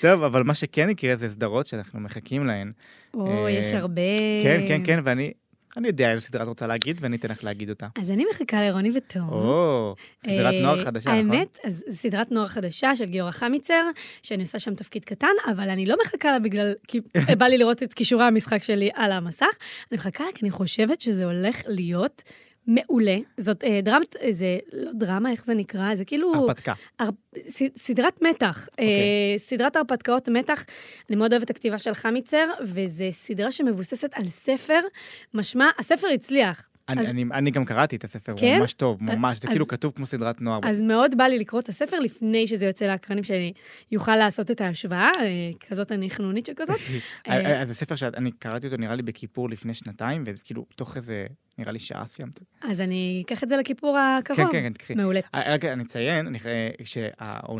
S1: טוב, אבל מה שכן יקרה זה סדרות שאנחנו מחכים להן.
S2: או,
S1: אה,
S2: יש הרבה.
S1: כן, כן, כן, ואני אני יודע איזו סדרה את רוצה להגיד, ואני אתן לך להגיד אותה.
S2: אז אני מחכה לרוני ותום.
S1: או, סדרת
S2: אה,
S1: נוער חדשה, נכון?
S2: האמת, אז זו סדרת נוער חדשה של גיורא חמיצר, שאני עושה שם תפקיד קטן, אבל אני לא מחכה לה בגלל, כי בא לי לראות את כישורי המשחק שלי על המסך, אני מחכה לה כי אני חושבת שזה הולך להיות מעולה. זאת אה, דרמת, אה, זה לא דרמה, איך זה נקרא? זה כאילו...
S1: הרפתקה.
S2: הר... ס... סדרת מתח, okay.
S1: אוקיי.
S2: אה, סדרת הרפתקאות מתח. אני מאוד אוהבת את הכתיבה של חמיצר, וזו סדרה שמבוססת על ספר, משמע, הספר הצליח.
S1: אני-
S2: אז-
S1: אני- אני גם קראתי את הספר, הוא
S2: כן?
S1: ממש טוב, ממש, זה
S2: אז-
S1: כאילו כתוב כמו סדרת נוער.
S2: אז מאוד בא לי לקרוא את הספר לפני שזה יוצא לאקרנים, שאני אוכל לעשות את ההשוואה, אה, כזאת אני חנונית שכזאת. אה,
S1: אז זה ספר שאני קראתי אותו נראה לי בכיפור לפני שנתיים, וכאילו תוך איזה, נראה לי שעה סיימת.
S2: אז אני אקח את זה לכיפור הקרוב.
S1: כן, כן, כן, קחי.
S2: מעולה.
S1: אה, רק אני אציין, אני חי- שהעונ-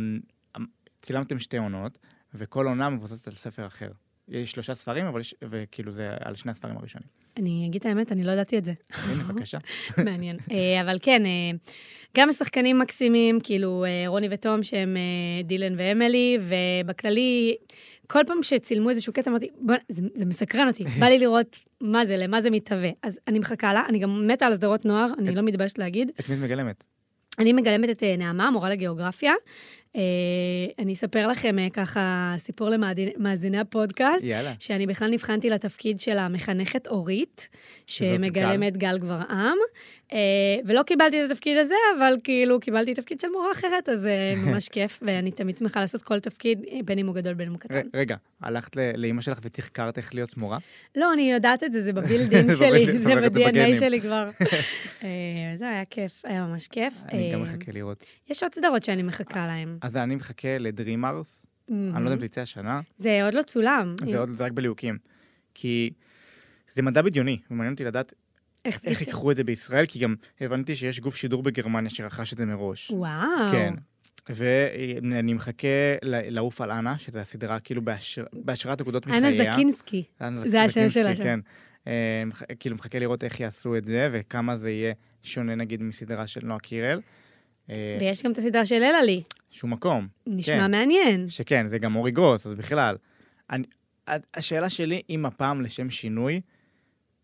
S1: המ- צילמתם שתי עונות, וכל עונה מבוססת על ספר אחר. יש שלושה ספרים, אבל יש, וכאילו זה על שני הספרים הראשונים.
S2: אני אגיד את האמת, אני לא ידעתי את זה.
S1: הנה, בבקשה.
S2: מעניין. אה, אבל כן, אה, גם השחקנים מקסימים, כאילו אה, רוני ותום, שהם אה, דילן ואמילי, ובכללי, כל פעם שצילמו איזשהו קטע, אמרתי, בוא, זה, זה מסקרן אותי, בא לי לראות מה זה, למה זה מתהווה. אז אני מחכה לה, אני גם מתה על סדרות נוער,
S1: כן.
S2: אני לא מתביישת להגיד.
S1: את מי את מגלמת?
S2: אני מגלמת את אה, נעמה, מורה לגיאוגרפיה. אה, אני אספר לכם אה, ככה סיפור למאזיני הפודקאסט.
S1: יאללה.
S2: שאני בכלל נבחנתי לתפקיד של המחנכת אורית,
S1: זאת
S2: שמגלמת גל גברעם, אה, ולא קיבלתי את התפקיד הזה, אבל כאילו קיבלתי תפקיד של מורה אחרת, אז אה, ממש כיף, ואני תמיד שמחה לעשות כל תפקיד, אה, בין אם הוא גדול בין אם הוא קטן.
S1: ר- רגע, הלכת ל- לאימא שלך ותחקרת איך להיות מורה?
S2: לא, אני יודעת את זה, זה בבילדין
S1: זה
S2: שלי,
S1: בבילד-
S2: זה
S1: זה בגנים.
S2: ב-DNA שלי כבר. אה, זה היה כיף, היה ממש כיף.
S1: אני גם
S2: אה,
S1: מחכה לראות.
S2: יש עוד סדרות שאני מחכה להן.
S1: אז אני מחכה לדרימרס, אני לא יודע אם זה יצא השנה,
S2: זה עוד לא צולם.
S1: זה עוד- זה רק בליהוקים. כי זה מדע בדיוני, ומעניין אותי לדעת
S2: איך זה
S1: איך
S2: יצא?
S1: ייקחו את זה בישראל, כי גם הבנתי שיש גוף שידור בגרמניה שרכש את זה מראש.
S2: וואו.
S1: כן. ואני מחכה ל- לעוף על אנה, שזו הסדרה כאילו בהשר- בהשראת נקודות מחייה.
S2: אנה זקינסקי.
S1: אנה
S2: זה השם
S1: זקינסקי,
S2: שלה שם.
S1: כן. אה, מח- כאילו מחכה לראות איך יעשו את זה, וכמה זה יהיה שונה נגיד מסדרה של נועה קירל. אה,
S2: ויש גם את הסדרה של אלה לי.
S1: שום מקום.
S2: נשמע
S1: כן.
S2: מעניין.
S1: שכן, זה גם אורי גרוס, אז בכלל. אני, ה- השאלה שלי, אם הפעם לשם שינוי,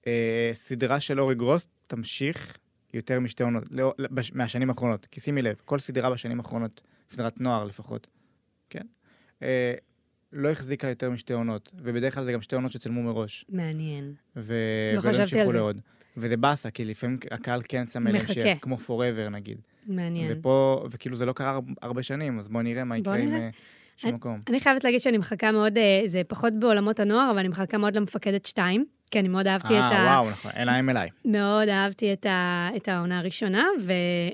S1: אה, סדרה של אורי גרוס תמשיך יותר משתי עונות, לא, לא- בש- מהשנים האחרונות. כי שימי לב, כל סדרה בשנים האחרונות, סדרת נוער לפחות, כן? אה, לא החזיקה יותר משתי עונות, ובדרך כלל זה גם שתי עונות שצלמו מראש.
S2: מעניין.
S1: ו...
S2: לא
S1: ולא
S2: חשבתי על
S1: המשיכו
S2: זה.
S1: לעוד. וזה באסה, כי לפעמים הקהל כן שם אליהם
S2: מחכה.
S1: שיר, כמו forever נגיד.
S2: מעניין.
S1: ופה, וכאילו זה לא קרה הר- הרבה שנים, אז בואו נראה מה
S2: בוא
S1: יקרה עם
S2: נראה.
S1: אה, שום מקום.
S2: אני חייבת להגיד שאני מחכה מאוד, אה, זה פחות בעולמות הנוער, אבל אני מחכה מאוד למפקדת 2, כי אני מאוד אהבתי את
S1: אה,
S2: ה...
S1: וואו, נכון, אליים אליי.
S2: מאוד אהבתי את ה- את העונה הראשונה,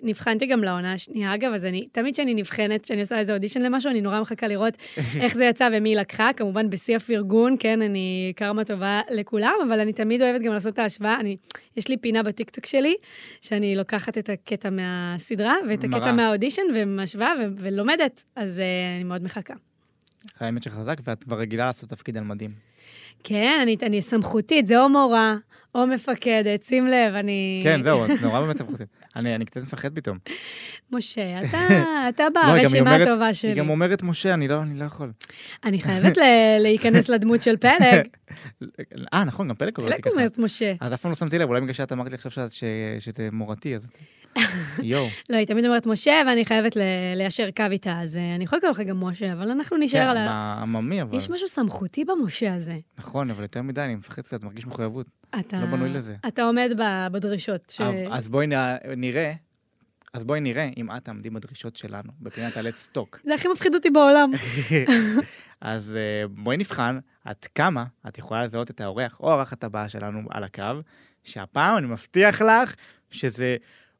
S2: ונבחנתי גם לעונה השנייה, אגב, אז אני, תמיד כשאני נבחנת, כשאני עושה איזה אודישן למשהו, אני נורא מחכה לראות איך זה יצא ומי לקחה, כמובן בשיא הפרגון, כן, אני קרמה טובה לכולם, אבל אני תמיד אוהבת גם לעשות את ההשוואה, אני, יש לי פינה בטיקטוק שלי, שאני לוקחת את הקטע מהסדרה, ואת
S1: מראה.
S2: הקטע מהאודישן, ומשווה, ו- ולומדת, אז אה, אני מאוד מחכה.
S1: האמת שחזק, ואת כבר רגילה לעשות תפקיד על מדים.
S2: כן, אני, אני סמכותית, זה או מורה, או מפקדת, שים לב, אני...
S1: כן, זהו, את נורא באמת סמכותית. אני אני קצת מפחד פתאום.
S2: משה, אתה, אתה
S1: לא, היא גם- היא
S2: ברשימה
S1: אומרת-
S2: אה, הטובה שלי.
S1: היא גם אומרת, משה, אני לא אני לא יכול.
S2: אני חייבת ל- להיכנס לדמות של פלג.
S1: אה, נכון, גם פלג
S2: פלג אומרת משה.
S1: אז אף פעם לא שמתי לב, אולי בגלל שאת אמרת לי עכשיו שאת- ש- שאת מורתי, אז... יואו.
S2: לא, היא תמיד אומרת משה, ואני חייבת ל- ליישר קו איתה, אז אה, אני יכולה לקרוא לך גם משה, אבל אנחנו
S1: כן,
S2: נשאר על ה...
S1: בעממי אבל.
S2: יש משהו סמכותי במשה הזה.
S1: נכון, אבל יותר מדי, אני מפחד קצת, מרגיש מחויבות.
S2: אתה...
S1: לא בנוי לזה.
S2: אתה עומד ב- בדרישות. ש...
S1: אבל- אז בואי נ- נראה, אז בואי נראה אם את תעמדי בדרישות שלנו, בפינת הלט סטוק.
S2: זה הכי מפחיד אותי בעולם.
S1: אז אה, בואי נבחן עד כמה את יכולה לזהות את האורח או האורחת הבאה שלנו על הקו, שהפעם אני מבטיח לך שזה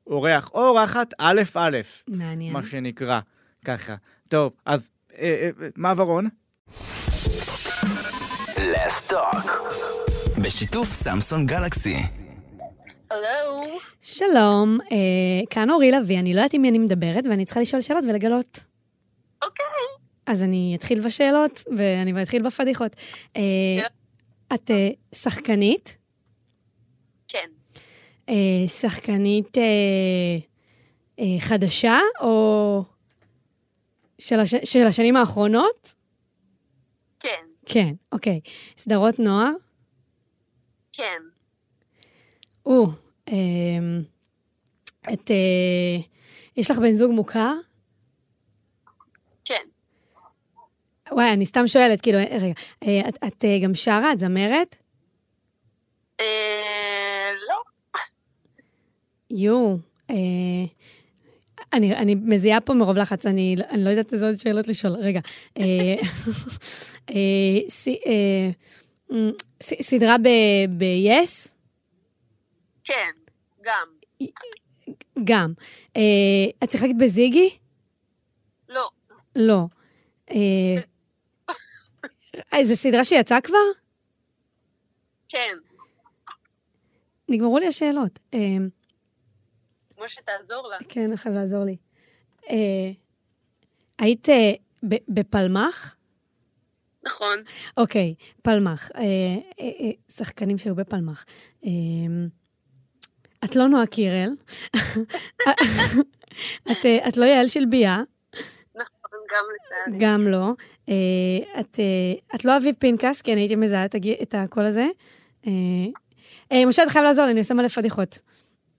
S1: אורח או אורחת א' א',
S2: מעניין.
S1: מה שנקרא, ככה. טוב, אז אה, אה, מעברון,
S3: לסטוק. בשיתוף סמסון גלקסי.
S4: הלו,
S2: שלום, אה, כאן אורי לביא, אני לא יודעת עם מי אני מדברת, ואני צריכה לשאול שאלות ולגלות.
S4: אוקיי,
S2: אז אני אתחיל בשאלות, ואני אתחיל בפדיחות. אה,
S4: יאללה.
S2: את אה, שחקנית?
S4: כן,
S2: אה, שחקנית אה, אה, חדשה, או של, הש... של השנים האחרונות?
S4: כן,
S2: כן, אוקיי. סדרות נוער?
S4: כן,
S2: או, אמ, את... אה, יש לך בן זוג מוכר?
S4: כן,
S2: וואי, אני סתם שואלת, כאילו, אה, רגע, אה, את, את אה, גם שרה? את זמרת?
S4: אה... לא,
S2: יואו, אה, אני, אני מזיעה פה מרוב לחץ, אני, אני לא יודעת איזה עוד שאלות לשאול. רגע, אה, אה, ס, אה, מ, ס, סדרה ב- ב-yes?
S4: כן, גם,
S2: גם. אה, את שיחקת בזיגי?
S4: לא,
S2: לא. אה, אה, זו סדרה שיצאה כבר?
S4: כן,
S2: נגמרו לי השאלות. אה,
S4: משה תעזור לה,
S2: כן, אתה חייב לעזור לי. אה, היית אה, ב- בפלמ"ח?
S4: נכון,
S2: אוקיי, פלמ"ח. אה, אה, אה, שחקנים שהיו בפלמ"ח. אה, את לא נועה קירל. את, אה, את לא יעל של ביה,
S4: נכון, גם לצערי,
S2: גם לא. אה, את, אה, את לא אביב פנקס, כי אני הייתי מזהה את הגי- את הקול הזה. אה, אה, משה, אתה חייב לעזור לי, אני עושה מלא פדיחות.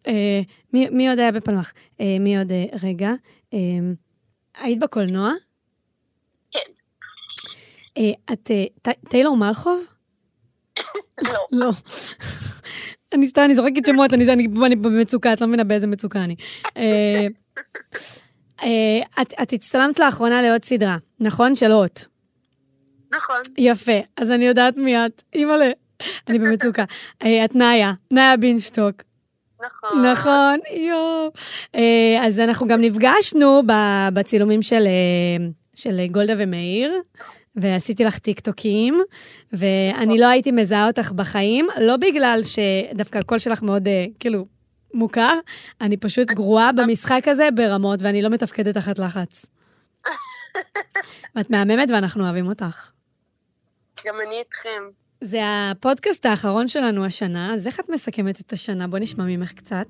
S2: אה, מי מי עוד היה בפלמ"ח? אה, מי עוד? אה, רגע. אה, היית בקולנוע?
S4: כן,
S2: אה, את אה, ט- טיילור מלחוב?
S4: לא,
S2: לא. אני סתם, אני זורקת שמות, אני, זה, אני, אני במצוקה, את לא מבינה באיזה מצוקה אני. אה, אה, את, את הצטלמת לאחרונה לעוד סדרה, נכון? של הוט.
S4: נכון,
S2: יפה, אז אני יודעת מי את. אימא'לה, אני במצוקה. אה, את נאיה, נאיה בינשטוק.
S4: נכון,
S2: נכון, יואו. אה, אז אנחנו גם נפגשנו ב- בצילומים של, אה, של גולדה ומאיר, ועשיתי לך טיקטוקים, ואני לא הייתי מזהה אותך בחיים, לא בגלל שדווקא הקול שלך מאוד, אה, כאילו, מוכר, אני פשוט גרועה במשחק הזה ברמות, ואני לא מתפקדת תחת לחץ. ואת מהממת ואנחנו אוהבים אותך.
S4: גם אני איתכם,
S2: זה הפודקאסט האחרון שלנו השנה, אז איך את מסכמת את השנה? בוא נשמע ממך קצת.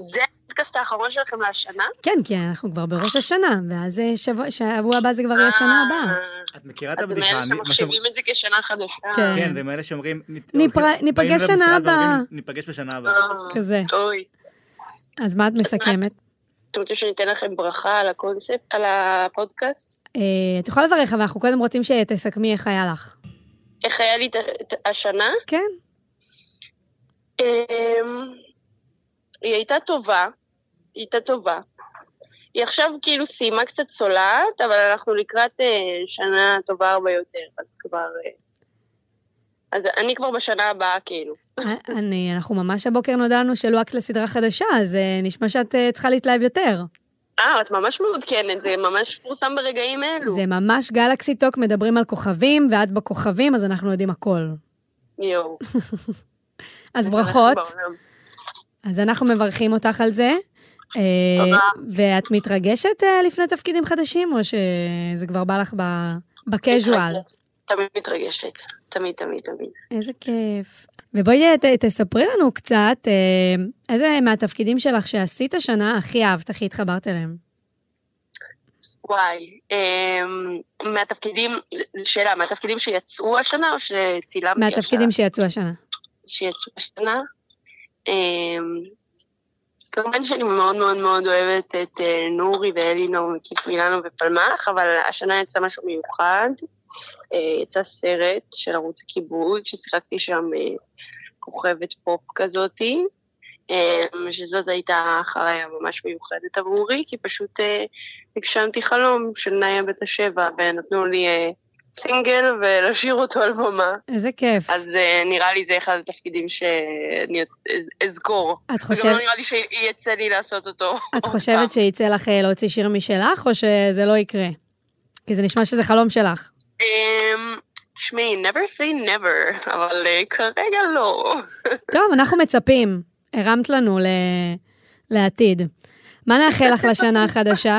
S4: זה הפודקאסט האחרון שלכם להשנה?
S2: כן, כי אנחנו כבר בראש השנה, ואז אה, שבוע, שבוע הבא זה כבר יהיה השנה הבאה.
S1: את מכירה את
S4: אה, אתם
S1: הבדיחה?
S4: מאלה
S1: אני- מה שאומרים-
S4: שמחשיבים את זה כשנה חדשה,
S2: כן.
S1: כן, זה מאלה שאומרים... נת-
S2: ניפר-
S1: הולכים-
S2: ניפגש
S1: באים
S2: שנה
S1: למשרד ואומרים,
S2: הבאה.
S1: ניפגש בשנה הבאה.
S4: אה,
S2: כזה.
S4: אוי,
S2: אז מה את מסכמת?
S4: אתם רוצים שאני אתן לכם ברכה על הקונספט, על הפודקאסט?
S2: אה, את יכולה לברך, אבל אנחנו קודם רוצים שתסכמי איך היה לך.
S4: איך היה לי את- את השנה?
S2: כן,
S4: אמ, היא הייתה טובה, היא הייתה טובה. היא עכשיו כאילו סיימה קצת צולעת, אבל אנחנו לקראת אה, שנה טובה הרבה יותר, אז כבר... אה, אז אני כבר בשנה הבאה, כאילו.
S2: אה, אני, אנחנו ממש הבוקר נודע לנו שלוהקת לסדרה חדשה, אז אה, נשמע שאת אה, צריכה להתלהב יותר.
S4: אה, את ממש מעודכנת, זה ממש פורסם ברגעים אלו.
S2: זה ממש גלקסי טוק, מדברים על כוכבים, ואת בכוכבים, אז אנחנו יודעים הכל.
S4: יואו.
S2: אז
S4: זה
S2: ברכות,
S4: הולך בעולם.
S2: אז אנחנו מברכים אותך על זה. אה,
S4: תודה.
S2: ואת מתרגשת אה, לפני תפקידים חדשים, או שזה כבר בא לך ב- בקז'ואל?
S4: מתרגשת, תמיד מתרגשת, תמיד, תמיד, תמיד.
S2: איזה כיף. ובואי אה, ת, תספרי לנו קצת אה, איזה מהתפקידים שלך שעשית השנה הכי אהבת, הכי התחברת אליהם.
S4: וואי. אמ, מהתפקידים, שאלה, מהתפקידים שיצאו השנה או שצילמתי השנה?
S2: מהתפקידים שיצאו השנה.
S4: שיצאו השנה. אמ, כמובן שאני מאוד מאוד מאוד אוהבת את אה, נורי ואלינור מקיף מילאנו ופלמח, אבל השנה יצא משהו מיוחד. אה, יצא סרט של ערוץ כיבוי, ששיחקתי שם אה, כוכבת פופ כזאתי, אה, שזאת הייתה חוויה ממש מיוחדת עבורי, כי פשוט אה, הגשמתי חלום של נאיה בת השבע, ונתנו לי אה, סינגל ולשיר אותו על במה.
S2: איזה כיף.
S4: אז אה, נראה לי זה אחד התפקידים שאני אז- אזכור.
S2: את
S4: חושב... גם
S2: חושבת...
S4: לא נראה לי שיצא לי לעשות אותו.
S2: את חושבת שיצא לך אה, להוציא שיר משלך, או שזה לא יקרה? כי זה נשמע שזה חלום שלך.
S4: אמ, תשמעי, never say never, אבל אה, כרגע לא.
S2: טוב, אנחנו מצפים. הרמת לנו ל... לעתיד. מה נאחל לך לשנה החדשה?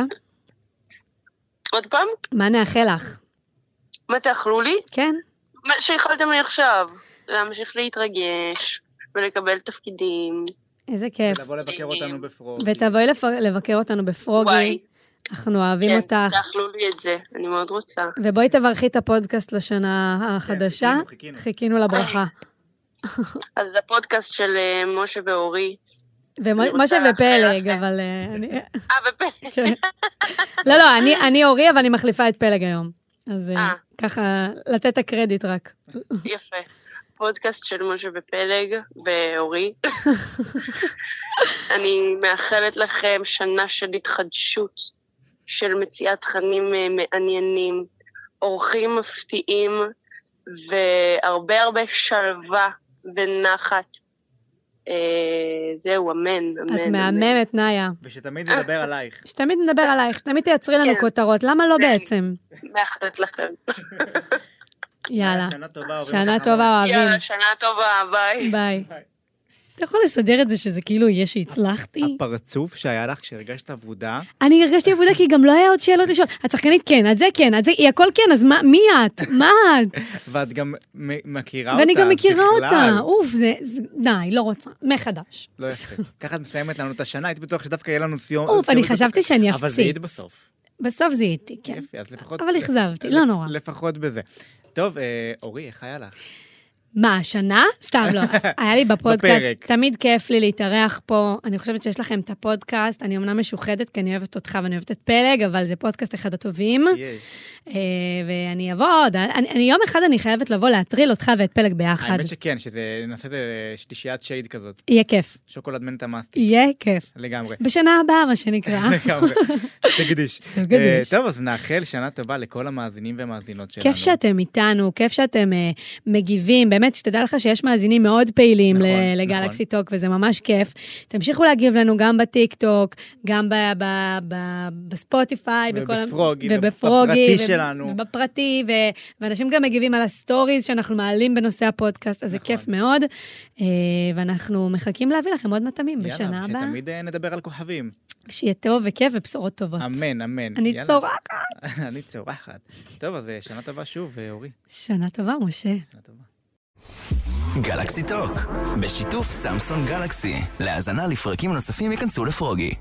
S4: עוד פעם,
S2: מה נאחל לך?
S4: מה תאכלו לי?
S2: כן,
S4: מה שאיכלתם לי עכשיו. להמשיך להתרגש ולקבל תפקידים.
S2: איזה כיף.
S1: לבוא לבקר אותנו בפרוגי.
S2: ותבואי לפ- לבקר אותנו בפרוגי,
S4: וואי.
S2: אנחנו אוהבים
S4: כן,
S2: אותך.
S4: תאכלו לי את זה, אני מאוד רוצה.
S2: ובואי תברכי את הפודקאסט לשנה החדשה.
S1: חיכינו, כן, חיכינו.
S2: חיכינו לברכה.
S4: אה, אז הפודקאסט של אה, משה ואורי. אני
S2: ומשה
S4: רוצה לאחל
S2: ופלג,
S4: לכם.
S2: אבל... אה, אני-
S4: אה, ופה.
S2: כן. לא, לא, אני- אני אורי, אבל אני מחליפה את פלג היום. אז אה,
S4: אה.
S2: ככה, לתת את הקרדיט רק.
S4: יפה. פודקאסט של משה ופלג ואורי. אני מאחלת לכם שנה של התחדשות, של מציאת תכנים אה, מעניינים, אורחים מפתיעים, והרבה הרבה שלווה ונחת. אה, זהו, אמן, אמן.
S2: את
S4: אמן.
S2: מהממת, נאיה.
S1: ושתמיד נדבר עלייך.
S2: שתמיד נדבר עלייך, שתמיד תייצרי לנו
S4: כן.
S2: כותרות, למה לא
S4: כן.
S2: בעצם?
S4: מאחלת לכם.
S2: יאללה.
S1: שנה טובה. אוהבים
S2: שנה
S1: אותך
S2: טובה, אוהבים.
S4: יאללה, שנה טובה, ביי.
S2: ביי.
S1: ביי.
S2: אתה יכול לסדר את זה שזה כאילו יהיה שהצלחתי?
S1: המון. הפרצוף שהיה לך כשהרגשת עבודה,
S2: אני הרגשתי עבודה כי גם לא היה עוד שאלות לשאול. את שחקנית כן, את זה כן, את זה, היא הכל כן, אז מה- מי את? מה את?
S1: ואת גם מ- מכירה אותה.
S2: ואני גם מכירה
S1: בכלל.
S2: אותה, אוף, זה, זה- די, לא רוצה, מחדש.
S1: לא יפה. ככה את מסיימת לנו את השנה, הייתי בטוח שדווקא יהיה לנו סיום.
S2: אוף,
S1: סיום
S2: אני
S1: יותר-
S2: חשבתי שאני
S1: אבל זה היית
S2: אפציץ.
S1: בסוף.
S2: בסוף זיהיתי, כן.
S1: יפי, אז לפחות...
S2: אבל אכזבתי, לא נורא.
S1: לפחות בזה. טוב, אה, אורי, איך היה לך?
S2: מה, השנה? סתם לא. היה לי בפודקאסט,
S1: בפרק.
S2: תמיד כיף לי להתארח פה. אני חושבת שיש לכם את הפודקאסט. אני אמנם משוחדת, כי אני אוהבת אותך ואני אוהבת את פלג, אבל זה פודקאסט אחד הטובים.
S1: יש.
S2: אה, ואני אבוא עוד. אני, אני, יום אחד אני חייבת לבוא להטריל אותך ואת פלג ביחד.
S1: האמת שכן, שזה נעשה את זה שלישיית שייד כזאת.
S2: יהיה כיף.
S1: שוקולד מנטה מאסטי.
S2: יהיה כיף.
S1: לגמרי.
S2: בשנה הבאה, מה שנקרא.
S1: לגמרי. תקדיש.
S2: סתם גדיש.
S1: אה, טוב, אז נאחל שנה טובה לכל המאזינים והמאזינות שלנו.
S2: כיף שאתם איתנו, כיף שאתם אה, מגיבים. באמת, שתדע לך שיש מאזינים מאוד פעילים
S1: נכון,
S2: ל- לגלקסי טוק, וזה ממש כיף. תמשיכו להגיב לנו גם בטיקטוק, גם ב- ב- ב- בספוטיפיי, בכל ה-
S1: ובפרוגי,
S2: ובפרוגי,
S1: ובפרטי שלנו.
S2: ובפרטי, ו- ואנשים גם מגיבים על הסטוריז שאנחנו מעלים בנושא הפודקאסט, אז זה
S1: נכון.
S2: כיף מאוד. אה, ואנחנו מחכים להביא לכם עוד מטעמים בשנה
S1: יאללה,
S2: הבאה.
S1: שתמיד אה, נדבר על כוכבים.
S2: שיהיה טוב וכיף ובשורות טובות.
S1: אמן, אמן.
S2: אוקיי. אני
S1: יאללה.
S2: צורחת.
S1: אני צורחת. טוב, אז אה, שנה טובה שוב, אה, אורי.
S2: שנה טובה, משה.
S1: שנה טובה.
S3: גלקסי טוק, בשיתוף סמסון גלקסי. להאזנה לפרקים נוספים ייכנסו לפרוגי.